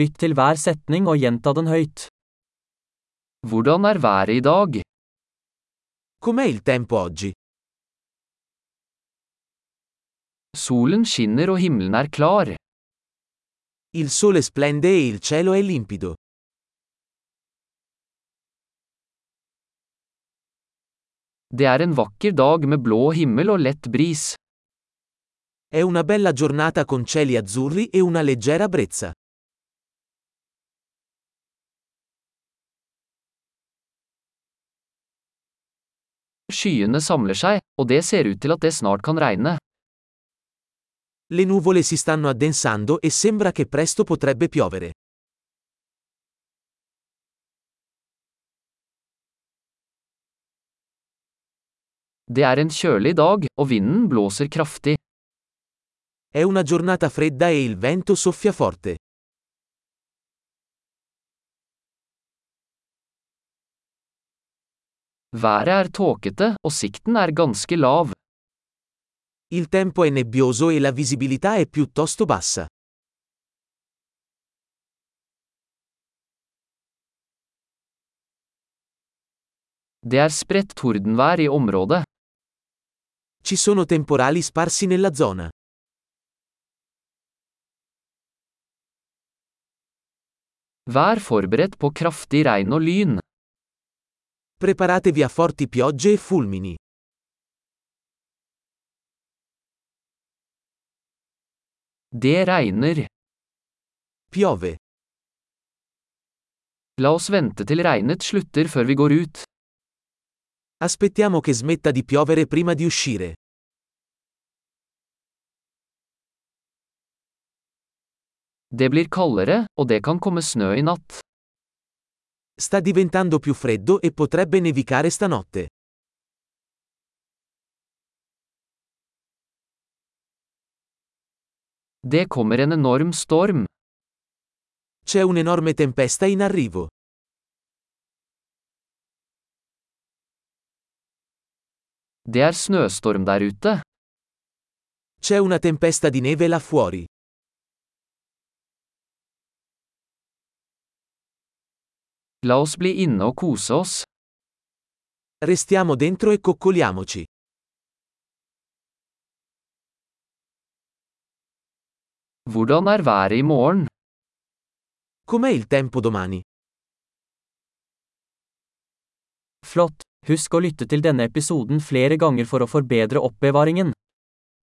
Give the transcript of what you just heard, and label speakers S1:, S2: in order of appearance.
S1: Lytt til hver setning og gjenta den høyt.
S2: Hvordan er været i dag?
S3: Com'è il tempo oggi?
S2: Solen skinner og himmelen er klar.
S3: Il sole splende e il cielo è limpido.
S2: Det er en vakker dag med blå himmel og lett bris.
S3: È una bella giornata con cieli azzurri e una leggera brezza.
S2: Skyene samler seg, og det ser ut til at det snart kan regne.
S3: Le nuvole si stanno addensando e sembra che presto potrebbe piovere.
S2: Det er en kjølig dag, og vinden blåser kraftig.
S3: È una giornata fredda e il vento soffia forte.
S2: Været er tåkete, og sikten er ganske lav.
S3: Il tempo è nebbioso e la visibilità è piuttosto bassa.
S2: Det er spredt tordenvær i området.
S3: Ci sono temporali sparsi nella zona.
S2: Vær forberedt på kraftig regn og lyn.
S3: Preparatevi a forti piogge e fulmini.
S2: Det regner.
S3: Piove.
S2: La oss vente til regnet slutter før vi går ut.
S3: Aspettiamo che smetta di piovere prima di uscire.
S2: Det blir kaldere, og det kan komme snø i natt.
S3: Sta diventando più freddo e potrebbe nevicare stanotte.
S2: Det kommer en enorm storm.
S3: C'è un'enorme tempesta in arrivo.
S2: Det er snøstorm der ute.
S3: C'è una tempesta di neve là fuori.
S2: La oss bli inne og kose oss.
S3: Restiamo dentro e coccoliamoci.
S2: Hvordan er været i morgen?
S3: Com'è il tempo domani?
S1: Flott! Husk å lytte til denne episoden flere ganger for å forbedre oppbevaringen.